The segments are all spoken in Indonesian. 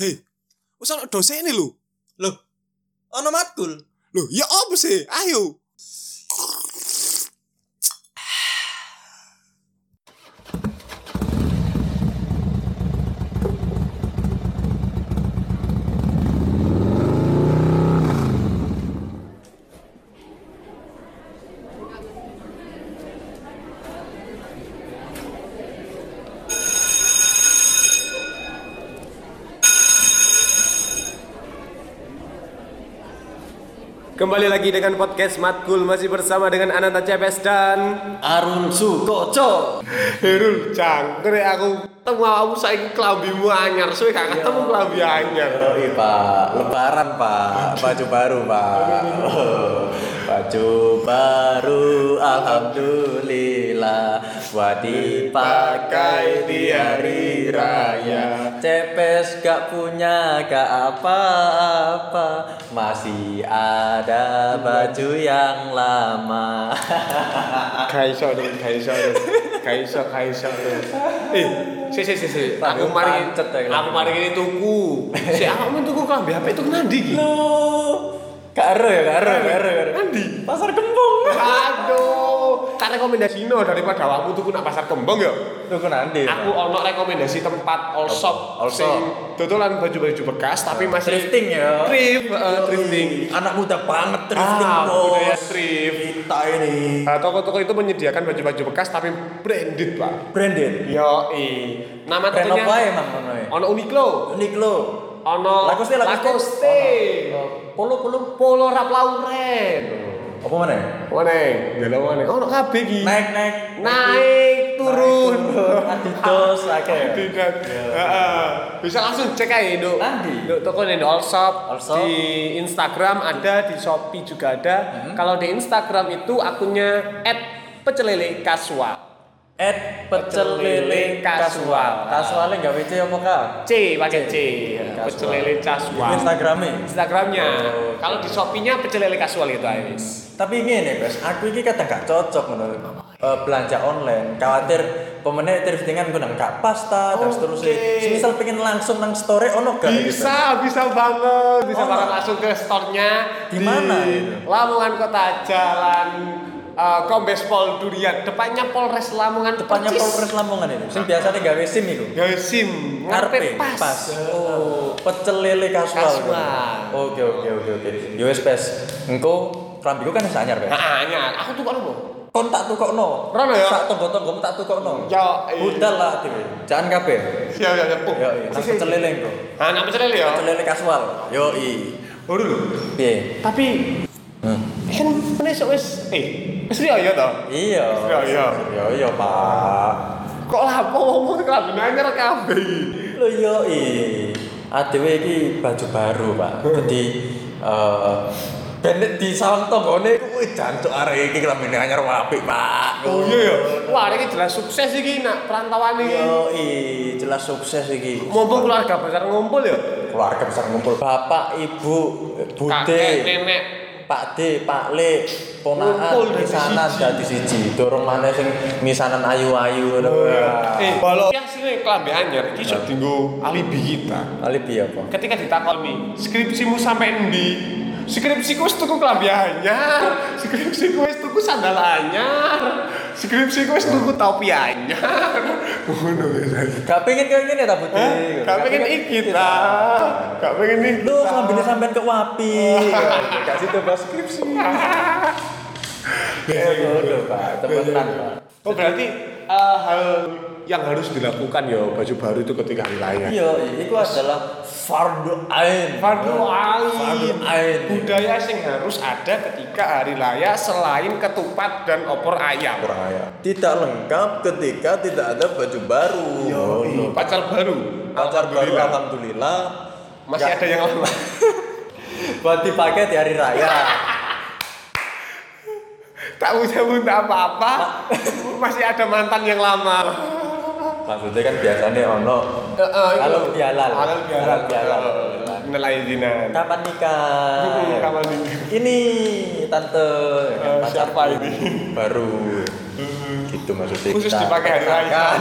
Hei, wis ana dosene lho. Loh. Ono matkul. Lho, ya apa sih? Ayo. Kembali lagi dengan podcast Matkul masih bersama dengan Ananta Cepes dan Arun Sukoco. Herul Cangkre aku temu aku saiki klambimu anyar suwe gak ketemu klambi anyar. Oh iya Pak, lebaran Pak, baju baru Pak. Oh, Baju baru alhamdulillah Wah dipakai di hari raya Cepes gak punya gak apa-apa Masih ada baju yang lama Kaiso dong, kaiso dong. Kaiso kaiso dong. Eh, si si si si. Aku Tambah mari pancet ya, aku mari ini tuku. Si aku mau tuku klambi HP tuku nandi iki. Loh, Gak ero ya, gak ero, gak ero, gak ero. Nandi. Pasar Gembong Aduh, tak rekomendasi no daripada awakmu tuku nak pasar kembang ya. Tunggu nanti Aku ono rekomendasi tempat all shop, All sing shop. dodolan baju-baju bekas tapi masih Thrifting ya. Thrift, eh, thrifting. Anak muda banget thrifting Ah, bos. budaya thrift. Kita ini Nah, toko-toko itu menyediakan baju-baju bekas tapi branded, Pak. branded. Yo, Nama Brand tokonya apa emang ono ya? Ono Uniqlo, Uniqlo. ono Lacoste, Lacoste. Lacoste. Polo polo. Polo Rap Lauren. Apa mana? ya? Mana? Jalan mana? Ono kabeh iki. Naik naik. Naik, turun. Adidas akeh. Tidak. Heeh. Bisa langsung cek aja Dok. Nanti. Dok toko di All Shop. All Shop. Di Instagram ada, di Shopee juga ada. Hmm. Kalau di Instagram itu akunnya @pecelele kasual. Ed pecel lele kasual. Kasualnya nggak WC apa kak? C pakai C. Kasual. Pecelele kasual. Instagramnya. Instagramnya. Kalau di Shopee-nya pecelele kasual itu Iris. Tapi ngene, Bes, aku iki kadang gak cocok ngono. Eh, belanja online, khawatir pemenang thriftingan gue nang gak pas ta, dan Oke. seterusnya. Misal pengen langsung nang store ono gak? gitu? Bisa, bisa banget. Bisa Oh, banget no. langsung ke store-nya Di mana itu? Lamongan Kota Jalan eh, Kombes Pol Durian. Depannya Polres Lamongan. Depannya percis. Polres Lamongan itu. Sing biasanya gawe SIM iku. Ya SIM, ngarepe Karpe pas. pas. Oh, pecel lele kasual. Kasual. Oke, oke, oke, oke. Yo wes, Bes. Engko klambiku kan wis anyar, Bes. Nah, anyar. aku tuh kalau Kon tak tukokno. Rono Ah. ya? Sak tonggo-tonggomu tak tukokno. Ya, iya. Budal lah dhewe. Jangan kabeh. Siap, siap, siap. Oh, Yo, iya. Nang pecel lele engko. Nah, nak pecel lele ya. Pecel lele kasual. Yo, i. Waduh lho. Piye? Tapi Hmm. kan mana esok wis eh wis ya ya toh. Iya. Iya, iya. Iya, iya, Pak. Kok lapo ngomong kabeh anyar kabeh. Lho iya, i. Adewe iki baju baru, Pak. Hmm. Jadi eh ben di sawang tanggane kuwi jancuk arek iki kelamine anyar apik, Pak. Oh iya ya. Wah, ini jelas sukses iki nak perantauan iki. Yo, i, jelas sukses iki. Mumpung keluarga besar ngumpul ya. keluarga besar ngumpul. Bapak, Ibu, kakek Bude, nenek Pak D, Pak Le, ponakan Ngumpul dadi misanan siji. dadi siji. Dorong maneh sing misanan ayu-ayu ngono. eh kalau ya sini kelambi anyar iki sudah tinggu alibi kita Alibi apa? ketika ditakoni skripsimu sampai endi skripsiku wis tuku kelambi anyar skripsiku wis tuku sandal anyar skripsiku wis tuku topi anyar ngono wis Gak pengen kayak gini ta Budi? gak pengen iki ta gak pengen iki Lu kelambine sampean ke wapi. Gak situ bahas skripsi. gitu. Ngono, Pak. Temenan, Pak. oh berarti eh, hal yang harus dilakukan ya baju baru itu ketika wilayah Iya, itu adalah fardu ain. Fardu Fardu ain. ain. Budaya sing harus ada ketika hari raya selain ketupat dan opor ayam. Tidak lengkap ketika tidak ada baju baru. Oh, Ngono. Pacar baru. pacar baru iya. Alhamdulillah. alhamdulillah Masih ada yang lama. buat dipakai di hari raya tak usah minta apa-apa. Masih ada mantan yang lama. maksudnya kan biasanya ono Eh, eh, itu. kalau bialal Halal bihalal. Halal bihalal. Nilai dinan. kapan nikah Hmm, kapan nikah. ini tante ya kan, Eh, pacarku siapa ini? Hmm. baru gitu maksudnya Khusus kita dipakai hari raya. petakan.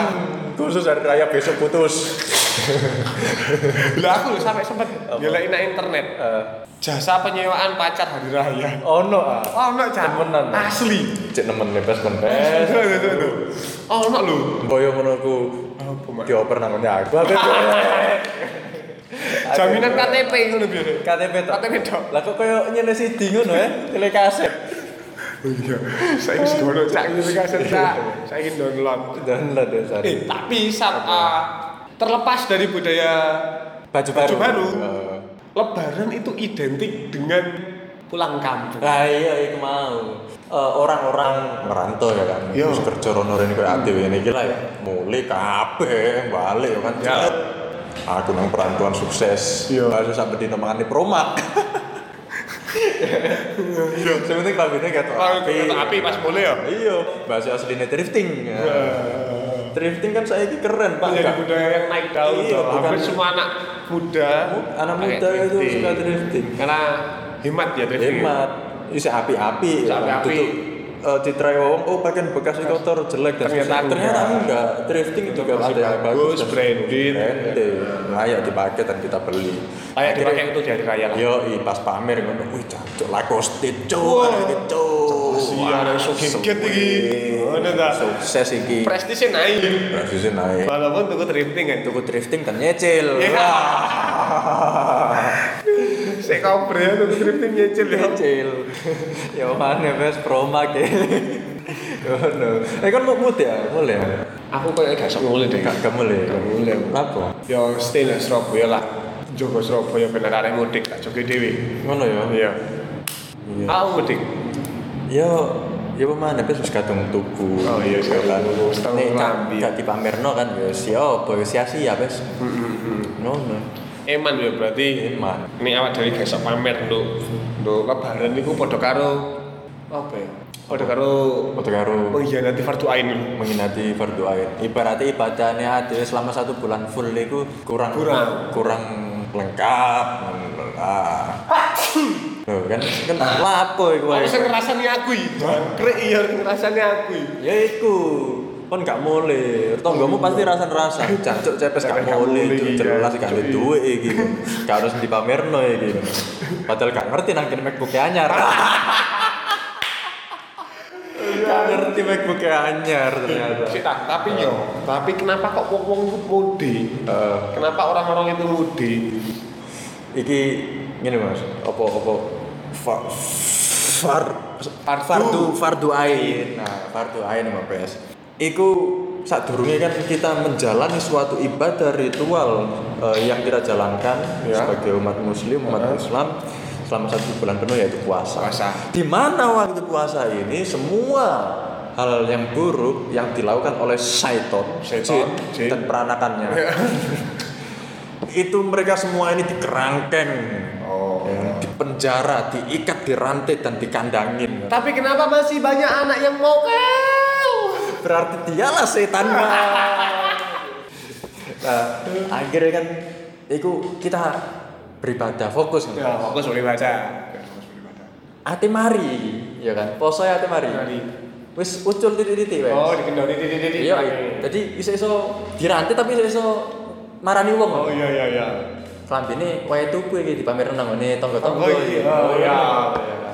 khusus hari raya besok putus Lah aku lho sampai sempet nyelek nang internet. Eh. Jasa penyewaan pacar hari raya. Ono ah. Oh, ono jan. Temenan. Eh, Asli. Cek nemen nepes nepes. Tuh, tuh, tuh, tuh. Oh, ono lho. Boyo ngono ku Oh, Apa, Mak? dioper nang ngene aku. Aku Jaminan KTP ngono biasa. KTP tok. KTP tok. Lah kok koyo nyene CD ngono ya? Tele kaset. Oh iya. Saiki sing ono cak ngene Iya, kaset cak. Saiki download. Download ya sari. Eh, tapi sam- ah, terlepas dari budaya Baju baru. baju baru, Eh. Lebaran itu identik dengan pulang kampung. Nah iya iku mau. Eh, orang-orang merantau ya kan. Iya. Wis kerja rono rene koyo aktif ngene iki lah ya. Mulai kabeh balik ya kan. Ya. Cet. Aku nang perantauan sukses. Iya. Baru sampe dino mangane promak. Iya. Yo, sebenarnya kelabinnya kata Kalau kereta api pas Iya. boleh ya. Iya, bahasa aslinya drifting. Drifting kan saya keren, Pak. Menjadi Nggak- Iya, budaya yang naik daun. Iya, toh. bukan- Hampir semua anak muda, Anak pakai muda itu drifting. suka drifting. Karena hemat ya drifting. Hemat. Isi api-api. ya. Api-api. Tutup, eh, citrai wong, oh bagian bekas kotor jelek dan Ternyata sebagainya. ternyata enggak. enggak drifting juga masih ada yang bagus, bagus dan branded. branded. layak dipakai dan kita beli Kayak Akhirnya- dipakai untuk jadi raya lah. yo i pas pamer ngono wih jancuk lakoste Wah. cuk arek cuk Iya, ada sugih-gigit iki. Ngono ta. sukses iki Prestisnya naik. presisi naik Walaupun tuku drifting kan. tuku drifting dan nyecil. Iya. Wah. Saya kobre ya tuku drifting nyicil ya. nyecil. ya mana wes promak ya. Oh no. Eh kan mau mut ya, mulai. ya? Aku kayak gak sok mulai deh. Gak gak mulai. Gak mulai. Apa? Ya stay lah Surabaya lah. Jogo Surabaya bener arek mudik tak joge dhewe. Ngono ya. Iya. Iya. Aku mudik. Ya ya apa mana wes wis kadung tuku. Oh, iya, sih. kan. Setengah Nek gak lambi. gak dipamerno kan ya siapa ya sia-sia wes. No no. Eman ya berarti. Eman. Nek awak dhewe gak sok pamer nduk nduk lebaran niku padha karo apa ya? Padha karo Foto karo mengkhianati fardu ain. menghinati fardu ain. Ibaratnya ibadahnya ada selama satu bulan full itu kurang Kurang. kurang lengkap. Ah. Tuh, kan kan Ah. lapo Aku iku wae. sing ngrasani aku iki. Jangkrik iya sing ngrasani aku iki. Ya iku. Kon gak mole. Tonggomu pasti rasan-rasan. Jancuk Oh, iya. cepes gak Cepes gak mole, mole, Cuk. iya, jelas gak Cuk, ada iya. duit iki. Gak harus dipamerno iki. Padahal gak ngerti nang kene MacBook anyar. Gak ngerti MacBook anyar ternyata. Sik tak, tapi yo, tapi kenapa kok wong-wong itu mudik? Eh. Kenapa orang-orang itu mudik? iki ngene Mas, apa apa fa, far Fardu. Iya, fardu fardu ain. Nah, fardu ain Mbak PS. Iku sadurunge kan kita menjalani suatu ibadah ritual eh, yang kita jalankan Ya. sebagai umat muslim, umat Islam selama satu bulan penuh yaitu puasa. Puasa. Di mana waktu puasa ini semua hal yang buruk yang dilakukan oleh syaiton, Syaiton, jin, jin. Iya. dan peranakannya itu mereka semua ini dikerangkeng Oh. ya, dipenjara diikat dirantai dan dikandangin Tapi kenapa masih banyak anak yang mokel? berarti dialah setan nah, akhirnya kan itu kita beribadah fokus kan? Ya, aku sulit baca. ate mari ya kan poso ate mari Mari. wis ucul titik-titik wes Oh, dikendali di di di. iya jadi iso iso dirantai tapi iso iso marani wong Oh iya iya iya. klambine wae tuku iki dipamerno nang ngene tangga-tangga Oh iya. Oh iya.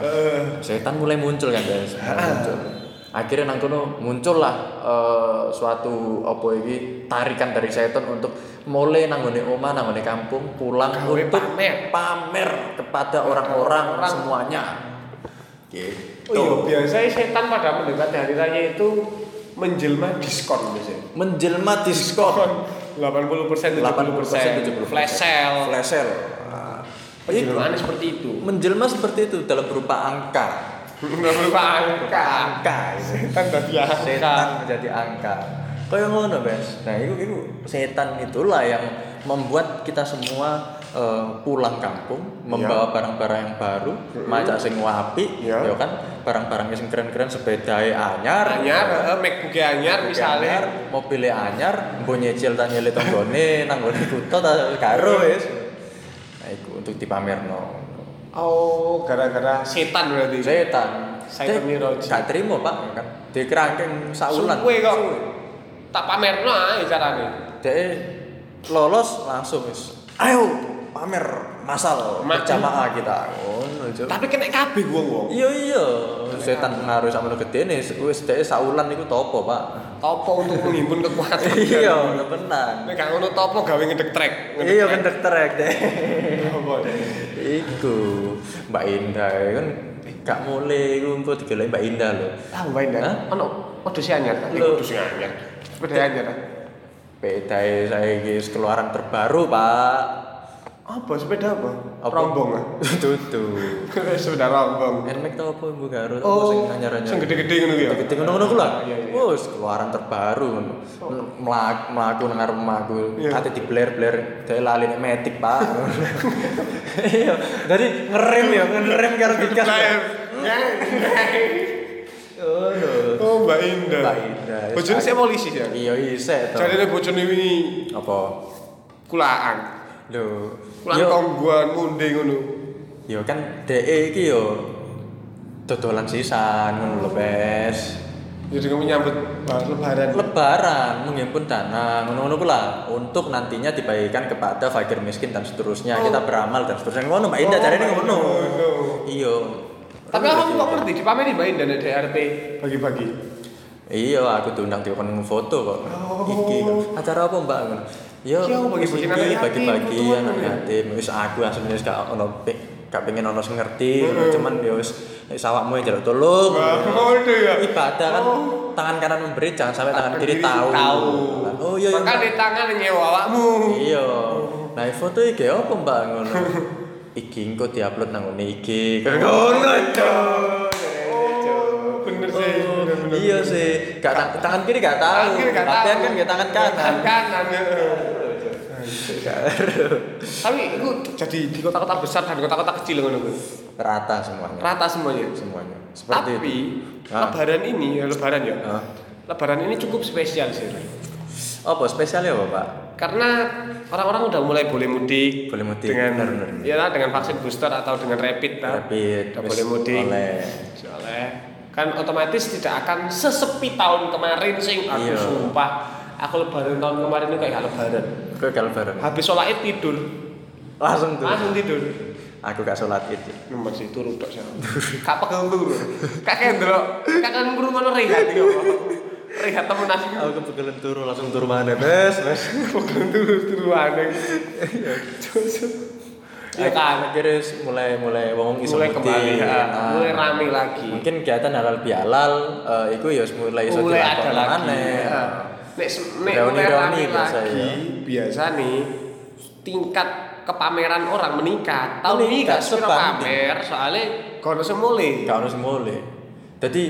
Eh, setan mulai muncul kan guys mulai Ah. muncul akhirnya nang kono muncullah eh, suatu apa iki tarikan dari setan untuk mulai nanggone omah nanggone kampung pulang Gawe untuk pamer. pamer kepada Orang. orang-orang semuanya Oh iya, gitu biasanya setan pada mendekati hari raya itu menjelma diskon biasanya. menjelma diskon 80% 70%, 80%, flash sale. Iya. flash sale Ah. Itu. Penjelmaan seperti itu. menjelma seperti itu dalam berupa angka Enggak berupa angka. angka Setan tadi setan angka. menjadi angka kayak ngono bes nah itu itu setan itulah yang membuat kita semua eh, pulang kampung Iya. membawa barang-barang yang baru macak sing wapi Ya. ya kan barang-barang sing keren-keren sepeda anyar Anyar, eh, MacBook anyar misalnya misalnya. mobilnya anyar mbok nyicil tak nyilih tanggone nang nggone kutho tak karo Iya, wis nah iku untuk dipamerno Oh, gara-gara setan berarti. setan Setan Dek, Miroji. gak terima pak kan dikerangkeng saulan Suwe kok. Tak pamerno ae carane. Dek lolos langsung wis. Ayo pamer masal Ma- berjamaah kita. Ngono Cuk. Tapi kena kabeh wong-wong. Iya iya, setan pengaruh sama lu gede nih, wis dhek saulan iku topo, Pak. Apa untuk menghimpun kekuatan? Iya, tenan. Nek gak ngono topo gawe ngedek trek. Ngedek Iya trek. kan terek deh. Apa deh? Iku Mbak Indah ya kan gak mulai iku engko digelek Mbak Indah lho. Tahu wae Hah? Iya. ndak? Ono kudu si anyar ta? Lho. Kudu si anyar. Sepeda anyar ta? Bedae saiki wis keluaran terbaru, Pak. Apa sepeda apa? Apa? Rombong ah. Dudu. Sepeda rombong. Nmek to apa Ibu Garut? Apa sing Oh, anyar-anyar? sing gede-gede ngono ku ya. Gede ngono-ngono ku lah. Iya, iya. Wes keluaran terbaru ngono. Mlak mlaku nang ngarep omahku, Iya. ate dibler-bler, dhewe lali nek metik, Pak. Iya, jadi ngerem ya, ngerem karo dikas. Lain. Oh, no. Oh, Mbak Indah. Mbak Indah. Bojone saya polisi ya. Iya, isek to. Jadi bojone wingi Apa? kulaan. Lho. Kulaan yo- kongguan munding ngono. Yo kan DE iki yo dodolan sisan ngono lho, Bes. Jadi kamu nyambut bahas eh, lebaran. Lebaran menghimpun dana ngono-ngono pula untuk nantinya dibagikan kepada fakir miskin dan seterusnya kita beramal dan seterusnya ngono Mbak Indah Oh, cari ini Mbak ngono Indah, iyo Tapi aku kok ngerti dipameri Mbak Indah nek DRT bagi-bagi. iya aku diundang di kon foto kok iki kan. acara apa Mbak ngono yo Oh. Iki aku bagi-bagi anak yatim, bagi-bagi kebutuhan anak ngono ya. yatim wis aku asline wis gak ono pe- gak pengen ono sing ngerti cuman ya wis wis awakmu yang jaluk tolong Wah, ngono ya. ibadah kan Oh. tangan kanan memberi jangan sampai tangan Tangan kiri kiri tahu tahu. oh iya iya, Maka Mbak. di tangan nyewa awakmu. Iya. Nah, foto iki apa Mbak ngono? iki engko diupload nang ngene iki. Ngono, Cuk. Oh, Bener sih. bener, bener, Iya bener. sih, gak tang- tangan kiri gak tahu. Tangan kiri gak Latihan tahu. kan gak tangan kanan. Tangan kanan. Tapi itu jadi di kota-kota besar dan kota-kota kecil ngono Gus. Rata semuanya. Rata semuanya. Semuanya. Seperti Tapi itu. Ah. lebaran ini, ya lebaran ya. Ah. Lebaran ini cukup spesial sih. Ray. Apa spesialnya apa, Pak? Karena orang-orang udah mulai boleh mudik. Boleh mudik, Dengan benar, benar. ya lah, dengan vaksin booster atau dengan rapid lah. Rapid, Udah wis boleh mudik. oleh. Soalnya kan otomatis tidak akan sesepi tahun kemarin sing aku Iya. sumpah aku lebaran tahun kemarin itu kayak gak lebaran Kowe kalau bareng. habis sholat id tidur Langsung tuh. langsung tidur Aku gak sholat id. nomor sih turu tok sih kak pegel turu kak kendro kak kan buru mana rehat iki apa rehat temen aku Aku kebetulan turu langsung turu mana, Bes? Bes. pegel turu turu aneh Ya Iya kan, akhirnya mulai mulai wong iso mulai mudik. kembali ya, Ah. mulai rame lagi mungkin kegiatan halal bihalal eh iku ya mulai iso mulai ada dilakukan lagi maneh. Ya. nek se- nek Reuni-reuni mulai rame biasa lagi ya. biasa nih tingkat kepameran orang meningkat tahun ini Meningkat, gak sepiro sebanding. pamer soalnya kono semule Gak harus mulai. Jadi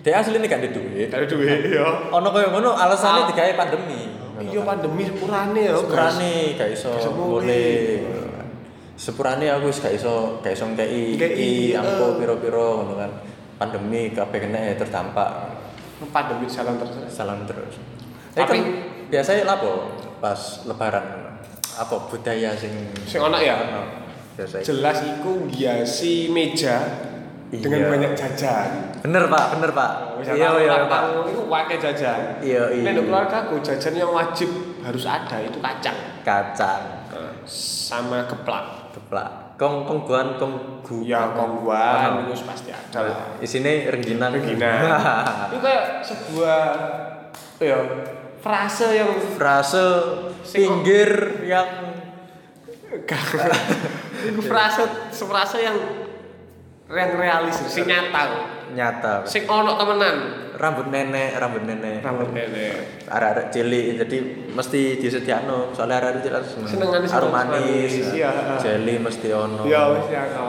dia asli gak ada duit. dari duit ya Ono koyo ngono Ah. alasannya digawe pandemi. iya pandemi sepurane ya guys. sepurane gak iso Gak iso mulai. Sepurane aku wis gak iso gak iso ngkei Ngkei, iki eh. ampo piro-piro ngono kan. Pandemi kabeh kena ya terdampak. pandemi jalan terus Salam terus. Tapi kan Tapi- biasanya lapo pas lebaran apa budaya sing sing ono ya biasanya jelas iku nghiasi meja Iya. dengan banyak jajan. Bener pak, bener pak. Wisata ulang tahun Iku pakai jajan. Iya, iya. Nek keluarga aku jajan yang wajib harus ada itu kacang Kacang, sama keplak. keplak, kong kongguan, kong gu. Ya kongguan itu pasti ada lah. Isine rengginan. Rengginan. Itu kayak sebuah apa ya frase yang Frase Sing- pinggir yang itu frase frase yang yang realistis, sing nyata. nyata. Sing ono temenan. Iya, Rambut nenek, rambut nenek. Rambut nenek. Arek-arek cilik jadi mesti disediakno soalnya arek-arek cilik Senengane seneng arum manis. manis, iya. Jeli mesti ono. Ya wis ya no.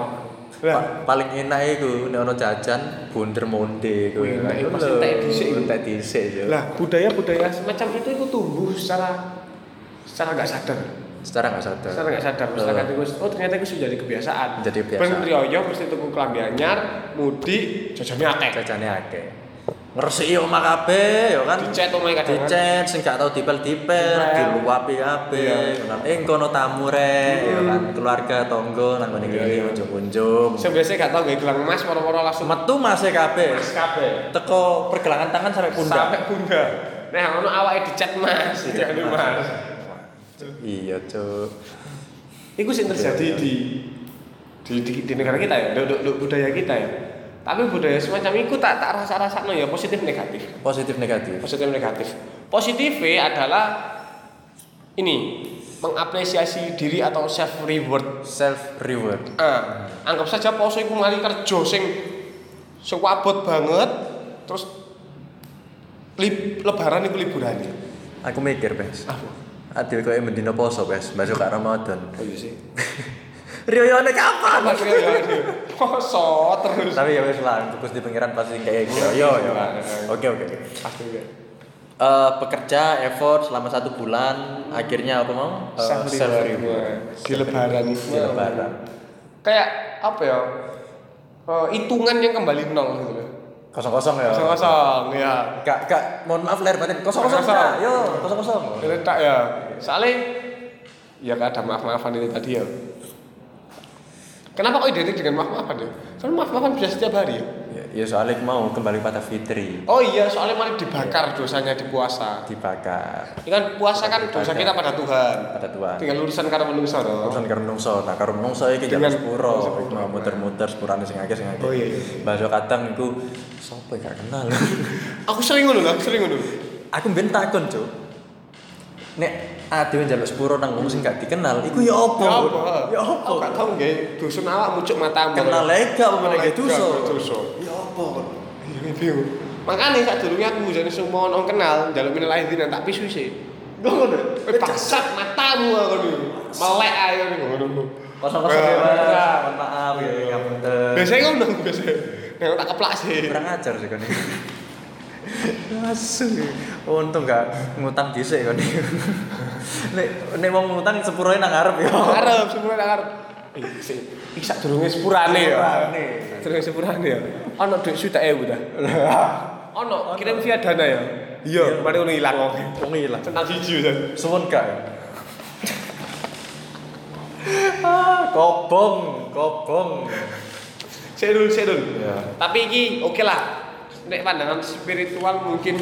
Lah, Pa- paling enak iku nek ono jajan bunder monde iku. Wih, enak iku, pasti entek dhisik iku. Entek dhisik yo. lah budaya budaya semacam itu itu tumbuh secara secara nggak sadar Secara enggak sadar. secara nggak sadar misalkan itu oh ternyata itu sudah jadi kebiasaan Jadi kebiasaan. Ben rioyo mesti tuku kelambi anyar mudik jajannya akeh jajane akeh. Ngresiki omah kabeh ya kan. Dicet oh omahe kadang. Dicet sing gak tau dipel-dipel, Dipel. diluapi kabeh. Iya. Hmm. ya kan. Eh kono tamu rek ya kan keluarga tonggo nang ngene Iya, iki iya. unjung-unjung. saya biasanya nggak tahu gak gelang emas moro-moro langsung Metu mase kabeh. kabeh Teko pergelangan tangan sampai pundak. sampai bunda nah ono awake dicat mas dicat mas Cuk. iya cuk Iku sih terjadi di di, di, di negara kita ya, di, di- di budaya kita ya. Tapi budaya semacam itu tak tak rasa rasa ya positif negatif, positif negatif positif negatif. Positifnya adalah ini mengapresiasi diri atau self reward. self reward Ah, anggap saja poso iku mari kerja sing sewabot banget terus lib, lebaran iku Ah, liburan. aku mikir bes Apa? Adewe koyo mendino poso bes masuk ke Ramadan Oh iya sih. Riyoyone kapan Maksudnya ya, iya. poso terus. tapi ya wes lah fokus di pengiran pasti kayak gitu yo yo oke oke oke. Pasti ya. Eh, bekerja effort selama satu bulan akhirnya apa mau Eh, Self reward. Di lebaran. di lebaran Kayak apa ya? Eh, hitungan yang kembali nol gitu loh. kosong kosong ya Kosong kosong ya. kak kak mohon maaf lahir batin kosong kosong Kosong. Kak. yo kosong kosong Ini tak ya. Soalnya ya gak ada maaf maafan ini tadi ya. Kenapa kok identik dengan maaf maafan ya? Soalnya maaf maafan bisa setiap hari. Ya? ya, ya soalnya aku mau kembali pada fitri Oh iya, soalnya malah Iya. dibakar dosanya di puasa. dibakar Ini kan puasa kan dosa kita pada Tuhan. pada Tuhan Tinggal urusan karena menungso dong. urusan karo menungso nah karo menungso iki jam Dengan- sepuro mau muter-muter sepurane sing akeh sing akeh Oh, iya, iya. Bakso kadang iku sapa gak kenal Aku sering ngono, aku sering ngono. aku mbien takon cuk nek adewe njaluk sepuro nang wong sing gak dikenal iku ya apa Ya Bud? apa? ya apa Aku gak tau nggih, dusun awak mucuk matamu. kenal lek gak apa Kenal nek ae dosa gak, dosa. ya apa Iya ini bingung. Makanya saat dulu aku jadi semua orang kenal, jaluk minal lain dan tak pisu sih. Ngono. Eh bangsat matamu aku nih. Melek ayo nih ngono. kosong-kosong ya Nah, Mas nah. Mohon maaf ya ngapunten Biasanya ngono biasanya. Nek tak keplak sih. kurang ajar sih kan Asu. Untung gak ngutang dhisik kan. Nek nek wong ngutang sepurane nang arep ya. Arab, sepurane Arab. Eh, sih. Iki sak durunge sepurane ya. Sepurane. Durunge sepurane ya. Ono duit sudah ewu dah. Ono kirim via Dana ya. Iya, mari ngono ilang kok. Wong ilang. Centang siji ya. Suwun gak? Ah, kobong, kobong. Serul, serul. Ya. Tapi iki oke lah. Nek pandangan spiritual mungkin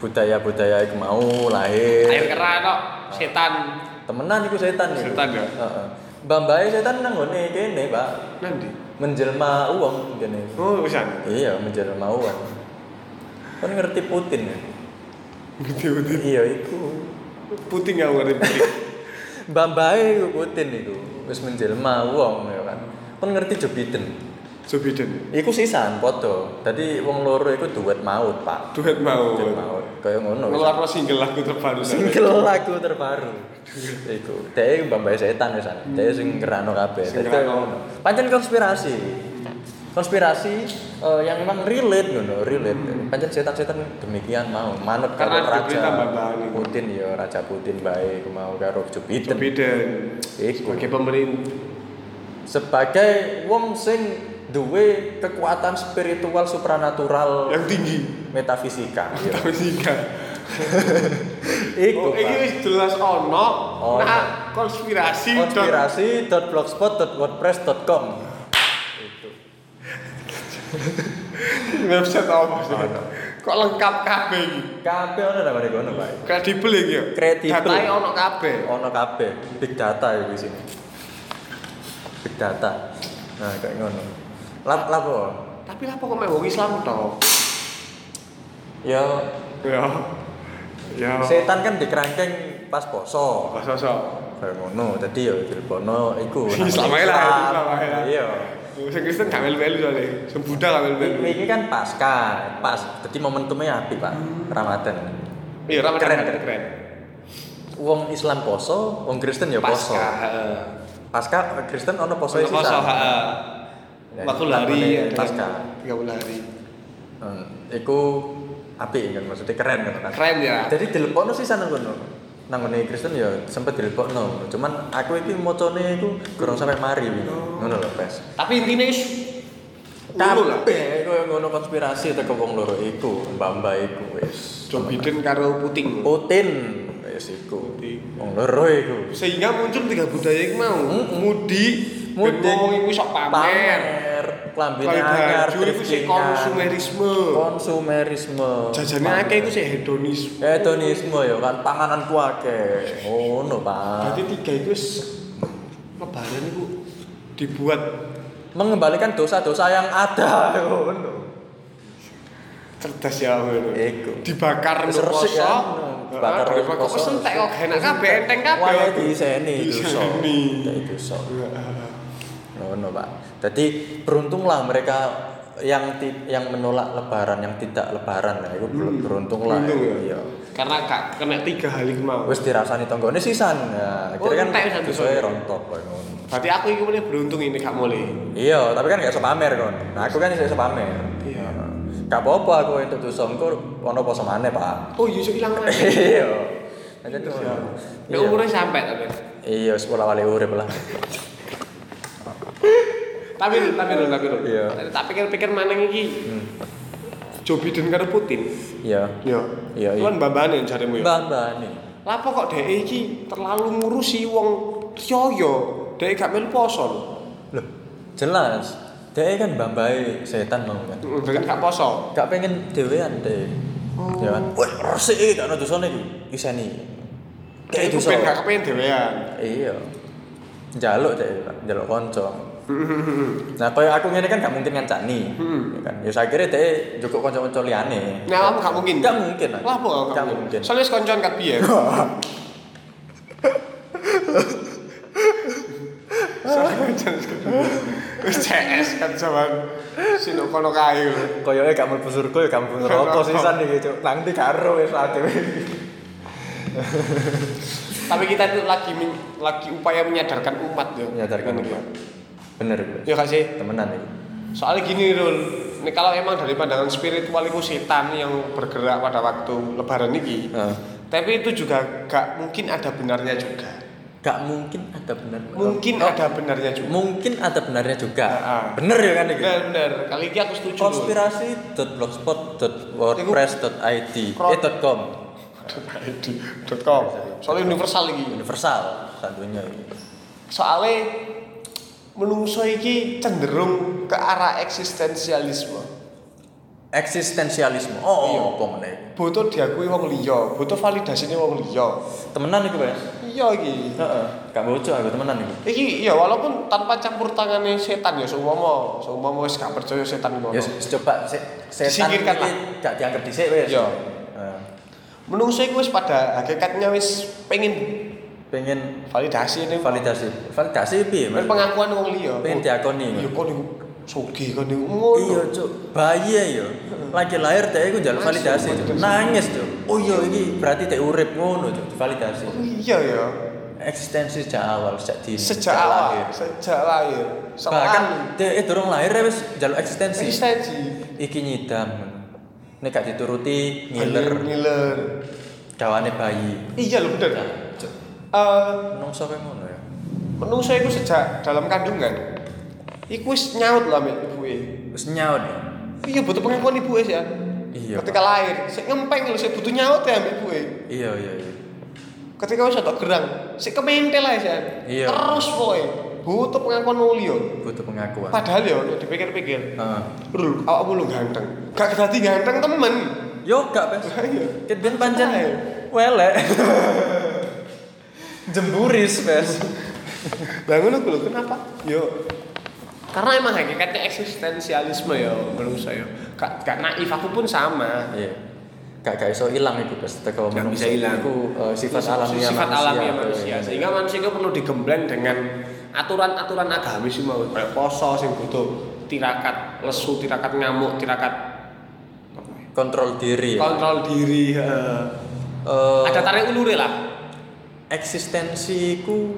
Budaya-budaya iku mau lahir. air keran kok setan. Temenan iku setan ya. Setan ya? Heeh. Mbambae setan nang ngene kene, Pak. Nanti. Menjelma uang kene. Oh, pisan. Iya, menjelma uang. Kan ngerti Putin ya? Ngerti ngerti. Iya, iku. Puting ya ngerti puting. Mbambae iku Putin iku. Wis menjelma wong ya kan. Kan ngerti Joe Biden. Joe Biden. Iku sisan padha. Dadi wong loro iku duet maut, Pak. Duet mau. Duet maut. Kaya ngono. wis. Ngelarno single lagu terbaru. Single lagu terbaru. iku. Dhewe mbambae setan wisan. Dhewe sing ngerano kabeh. Sing Dadi kaya ngerano. ngono. Pancen konspirasi. Konspirasi eh, yang memang relate ngono, relate. Pancen setan-setan demikian mau manut karo Hmm. Karena ada raja berita tambahan iku. Putin ya, raja Putin baik mau karo Joe Joe Biden. Biden. Iku. Eh, Sebagai pemerintah sebagai wong sing duwe kekuatan spiritual supranatural yang tinggi. metafisika iya. Tapi tiga. iku Oh, ini Pak. wis jelas ono. Ono. Nah, konspirasi. dot- konspirasi.blogspot.wordpress.com Website apa sih? Ono. Kok lengkap kabeh iki? kabeh ono nang kono Pak Kredibel iki ya. Kredibel. Datae ono kabeh. ono kabeh big data ya di sini big data nah kayak ngono lap lap apa? Tapi lah kok mek wong Islam toh? ya Ya. Ya. setan kan dikerangkeng pas poso Masa sok. kayak ngono tadi ya dilebono iku Islam ae lah, Islam. Islam ae lah. iya Sing Kristen gak melu-melu soalnya. Sing Buddha gak melu-melu. Ini kan pasca, pas. Jadi momentumnya api pak, Ramadan. Iya, Ramadan Keren, keren. keren. keren. keren. Wong Islam poso, wong Kristen ya Pasca, poso. Iya, heeh. Pasca eh, Kristen ono poso Untuk Poso, heeh. Ya, Waktu itu lari namanya ya, dengan pasca. 30 hari. Hmm, iku api kan maksudnya keren kan. kan? Keren ya. Jadi dilepokno sih sana kono. Nang ngene Kristen ya sempet dilepokno. Cuman aku iki mocone iku kurang sampai mari. Ngono lho, Pes. Tapi intinya is ngono lah. Kabeh koyo ngono konspirasi teko wong loro iku, mbak-mbak iku wis. Joe Biden karo Putin. Putin wis iku. Putin. Wong loro iku. Sehingga muncul tiga budaya yang mau mudik, Mudik. dan wong iku sok pamer. klambi Kali anyar, banjur iku sih driftingan. konsumerisme. Konsumerisme. Jajane akeh iku sih hedonisme. Hedonisme ya kan panganan ku akeh. Ngono, Pak. Berarti tiga itu se- lebaran itu dibuat Mengembalikan dosa-dosa yang ada. Ngono. cerdas ya ngono. Iku. Dibakar Wis untuk poso. resik, kan? Dibakar Dibakar untuk poso. Kok poso. sentek kok enak kabeh enteng kabeh. Wah, diseni dosa. Diseni. Diseni dosa. Ngono, Pak. Jadi beruntunglah mereka yang ti- yang menolak lebaran, yang tidak lebaran. Nah, itu belum beruntung lah. Hmm. Untung ya. Iya. Karena gak kena tiga hal iki mau. Wis dirasani tanggane sisan. Nah, Oh, akhirnya entek kan sampe dosae sono. rontok koyo ngono. Berarti aku iki mulai beruntung ini gak mulai. Iya, tapi kan gak iso pamer kon. Nah, aku kan iso iso pamer. Iya. Gak apa-apa aku entuk dosa engko ono poso maneh, Pak. Oh, iya ilang mana? Iya. Aja tuh. Nek umurnya sampai tapi. Iya, sekolah wali urip lah. Tapi lu, tapi lu, tapi lu. Iya. Tak pikir-pikir mana iki? Joe Biden karo Putin. Iya. Hmm. Iya. Iya, iya. Kan mbambane jaremu ya. Mbah-mbah nih. Lapa kok dhek iki terlalu ngurusi wong riyo? Dhek gak melu poso lho. Loh, jelas. Dia kan bambai setan mau kan. Dhek gak poso. Gak pengen dewean deh. Ya kan. Wah, resik iki gak ono dosane iki. Iseni. Dhek Kayak itu dosa. ben gak kepen dhewean. Iya. Jaluk deh, jaluk konco. Nah, kaya aku ngene kan gak mungkin ngancani. Ya kan. Ya saya kira deh cukup konco-konco liyane. Nah, kamu gak mungkin. Gak mungkin. Aku. Lapa kok gak mungkin. Soalnya wis koncoan gak biyen. Soalnya koncoan wis kebiyen. Wis CS kan zaman sino kono kae lho. Koyoke gak mlebu surga ya gak mlebu neraka sisan iki, Cuk. Nang ndi karo wis adewe. Tapi kita itu lagi men- lagi upaya menyadarkan umat ya. Menyadarkan Bener, umat. Bener gue. Ya kasih. Temenan iki. Soalnya gini Rul, ini kalau emang dari pandangan spiritual itu setan yang bergerak pada waktu lebaran ini Heeh. Tapi itu juga gak mungkin ada benarnya juga Gak mungkin ada benar. Mungkin ada benarnya juga Oh. mungkin ada benarnya juga. Ah. Bener ya kan iki? Benar-benar, kali ini aku setuju Rul. konspirasi.blogspot.wordpress.id Kro- eh .com .com. Soalnya universal ini universal tentunya ini. Soalnya menungso ini cenderung ke arah eksistensialisme Eksistensialisme. Oh, Iya. oh apa meneh? Butuh diakui wong liya, butuh validasinya wong liya Temenan iki, Pak. Iya iki Heeh. Gak bocor aku temenan iki. Iki ya walaupun tanpa campur tangannya setan ya seumpama, seumpama wis gak percaya setan ngono. Ya s- coba se setan Disingkirkan iki lah. gak dianggap dhisik wis. Iya. Heeh. Menungso iku wis pada hakikatnya wis pengen Pengen validasi ini. validasi. Validasi piye, Pengen Mas? pengakuan wong liya. Pengen Oh, diakoni. Iya kon iku sugih kon iku ngono. Iya, Cuk. Bayi ya, yo. Lagi lahir dhek iku njaluk Langsung validasi. Cuk. validasi. Nangis, Cuk. Oh iya iki berarti dhek urip ngono, Cuk. Validasi. Oh, Iya ya. Eksistensi sejak awal, sejak dini. Sejak lahir. awal, sejak lahir. Bahkan Bahkan dhek durung lahir ya wis njaluk eksistensi. eksistensi. Iki nyidam. Nek gak dituruti ngiler Ngiler. dawane bayi. Iya lho bener. Ya, Eh Cuk. Menungso kayak ngono ya. menungso iku sejak dalam kandungan iku wis nyaut lah mek ibuke. Wis nyaut ya. Iya butuh pengakuan ibu ya. Iya, Ketika lahir, saya ngempeng lho, saya butuh nyaut ya ibu ya. Iya, iya, iya. Ketika wis tak gerang, saya kementel aja ya. Iya. Terus boy, butuh pengakuan mulia. Butuh pengakuan. Padahal ya, nek dipikir-pikir, Heeh. Rul, awakmu lu ganteng. Gak kedati ganteng temen. Yo gak pes. Iya. Kedben pancen welek. Jemburis pes. Lah ngono ku lho, kenapa? Yo. Karena emang hakikatnya eksistensialisme ya menurut saya. Gak, gak naif aku pun sama. Iya. Gak gak iso ilang itu pes. Teko Gak bisa menungso ilang. Iku eh, sifat alamiah sifat alamiah Iya, manusia. iya, iya. Sehingga manusia itu perlu digembleng dengan aturan-aturan agamis sih mau kayak poso sing butuh tirakat lesu, tirakat ngamuk, tirakat apa ya, Iya. kontrol diri. kontrol diri. he. Iya. Eh, Ada tarik ulure lah. eksistensiku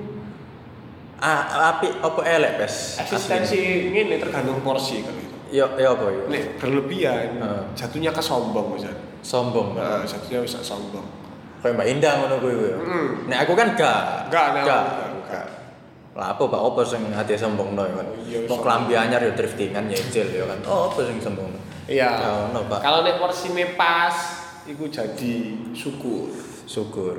a- api apa elek pes. Asli. Eksistensi ini tergantung porsi kan gitu. Yo yo apa yo. Nek berlebihan, Heeh. jatuhnya ke sombong Eh. misalnya. Sombong. Heeh, Nah, jatuhnya bisa sombong. Hmm, Kayak Mbak Indah ngono kuwi kuwi. Nek aku kan gak. Enggak, nek Gak. enggak. Lah apa Pak opo sing ati sombong no kan. Iya, Wong sombong. klambi anyar yo driftingan ya ijil ya kan. Oh apa sing sombong. Iya. Gak ono Pak. Kalau nek porsi pas, iku jadi syukur. syukur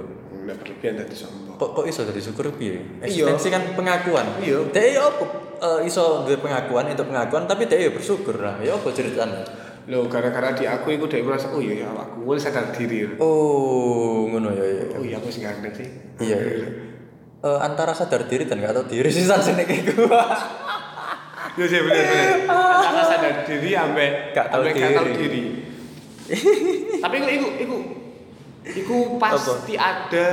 Nek berlebihan dadi sombong. kok kok iso dari syukur piye Iya. eksistensi kan pengakuan Iya. dia ya apa eh, iso duwe pengakuan itu pengakuan tapi dia ya bersyukur lah ya apa ceritanya Loh, gara-gara di aku iku dek merasa oh iya ya aku mulai sadar Iya. diri. oh ngono ya ya Oh iya aku sih ganteng sih. iya iya. Eh, antara sadar diri dan nggak tahu diri sih sini kayak gua Iya sih bener bener. Antara sadar diri sampai Gak tahu sampai gak tahu diri. diri. Tapi iku iku iku iku pasti ada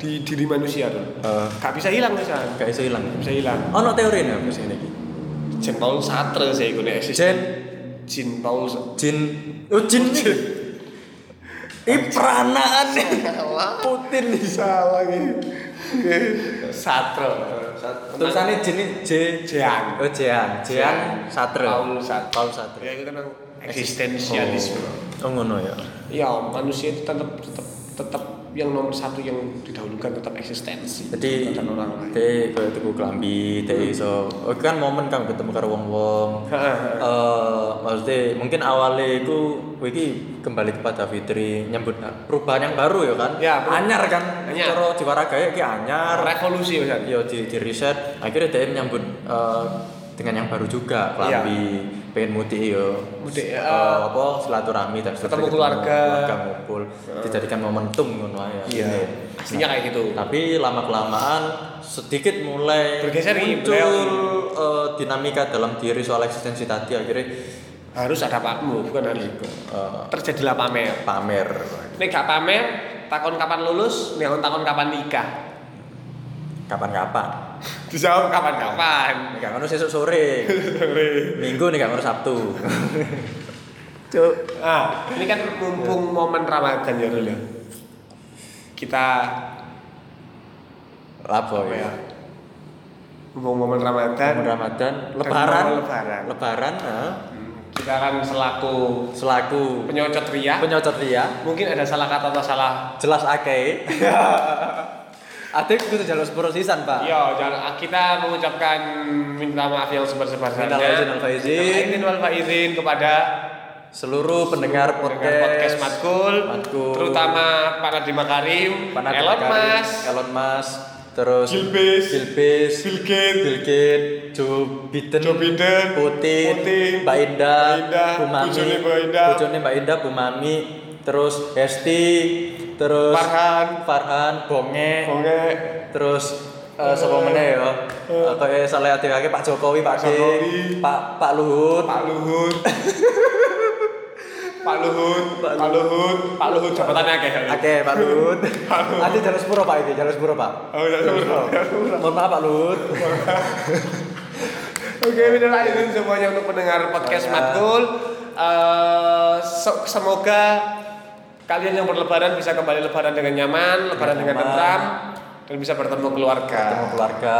di diri manusia tuh. Eh. Gak bisa hilang bisa. Gak nggak iso hilang bisa hilang. oh no teori nih aku sini Jean Paul Sartre sih iku nek Jean. Jean- Jean Paul Sartre. jin oh jin ini peranaan nih Putin nih Salah gitu. Sartre. tulisannya jin ini J Jean. oh Jean Jean Satre Paul Sartre. Paul Sartre. Ya itu kan eksistensialisme. oh ngono ya Ya manusia itu tetap tetap tetap yang nomor satu yang didahulukan tetap eksistensi. jadi dan orang lain. Hmm. teh kayak tuku kelambi teh iso oh, kan momen kan ketemu karo wong wong eh maksudnya mungkin awalnya itu wiki kembali kepada Fitri nyambut perubahan yang baru ya kan Ya, bener. anyar kan Anyar. cara Jiwaragaya iki anyar Revolusi Mas. ya di, di riset akhirnya dia menyambut eh, dengan yang baru juga kelambi pengen muti yo Ya. Mudik, Eh, eh, apa silaturahmi dan seterusnya, ketemu keluarga. keluarga ngumpul dijadikan momentum ngono Iya. aja Iya. Ini. Pastinya kayak gitu. Tapi lama kelamaan sedikit mulai Bergeser ini, muncul beliau. eh, dinamika dalam diri soal eksistensi tadi akhirnya Harus ada pamer, bukan harus. eh, Terjadilah pamer. pamer. Iya. Nek gak pamer, takon kapan lulus, nek takon kapan nikah. Kapan-kapan. Dijawab kapan-kapan. Nek gak ngono sesuk sore. Minggu nih gak ngono Sabtu. Cuk. Ah, ini kan mumpung momen Ramadan ya Rul ya. Kita Lapo apa ya? ya. Mumpung momen Ramadan, Momen Ramadan, Dan lebaran, momen lebaran. lebaran, eh, kita kan selaku selaku penyocot ria, penyocot ria, mungkin ada salah kata atau salah. jelas akeh. Ada kudu jalur sepuro sisan, Pak. Yo, jangan kita mengucapkan minta maaf yang sebesar-besarnya. Minal aidin wal faizin. Minal aidin wal faizin kepada Seluruh pendengar pendengar podcast, podcast Matkul, Matkul. terutama Pak Nadiem Makarim, Panat Elon Makarim, Musk, Elon Musk, terus Gilbis, Gilbis, Bill Gates, Bill Gates, Joe Biden, Joe Biden, Putin, Putin, Mbak Indah, Mbak Indah, Bu Mami, bojone Mbak Indah. bojone Mbak Indah, Bu Mami, terus Esti, terus Farhan, Farhan, Bonge, Bonge, terus eh sapa meneh ya? Eh, Kayak saleh ati akeh Pak Jokowi, Pak D, Jokowi. Pak Pak Luhut, Pak Luhut. Pak Luhut, Pak Luhut, Pak Luhut jabatannya akeh. Oke, Pak Luhut. Ati jalur sepuro Pak iki, jalur sepuro Pak. Oh, jalur sepuro, jalur sepuro. Mohon maaf Pak Luhut. Iya. Oke, minal aidin semuanya untuk pendengar podcast Banyak. Matkul. Eh, so- semoga kalian yang berlebaran bisa kembali lebaran dengan nyaman, lebaran dengan Iya, nyaman. tentram dan bisa bertemu keluarga. ketemu keluarga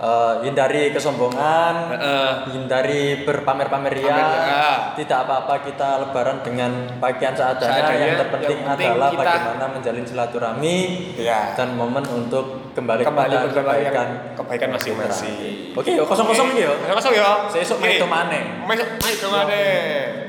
eh, hindari kesombongan Heeh. hindari berpamer-pamer ria Pamer ya. ria. tidak apa-apa kita lebaran dengan pakaian seadanya, Seadanya, yang terpenting yang penting adalah kita- bagaimana menjalin silaturahmi Ya. dan momen untuk Kembali kembali, kepada bersama yang Iya. kebaikan kebaikan masing-masing. oke yuk kosong-kosong yuk Masuk ya. Sesuk main Iya. Oke. domane. Masuk main domane.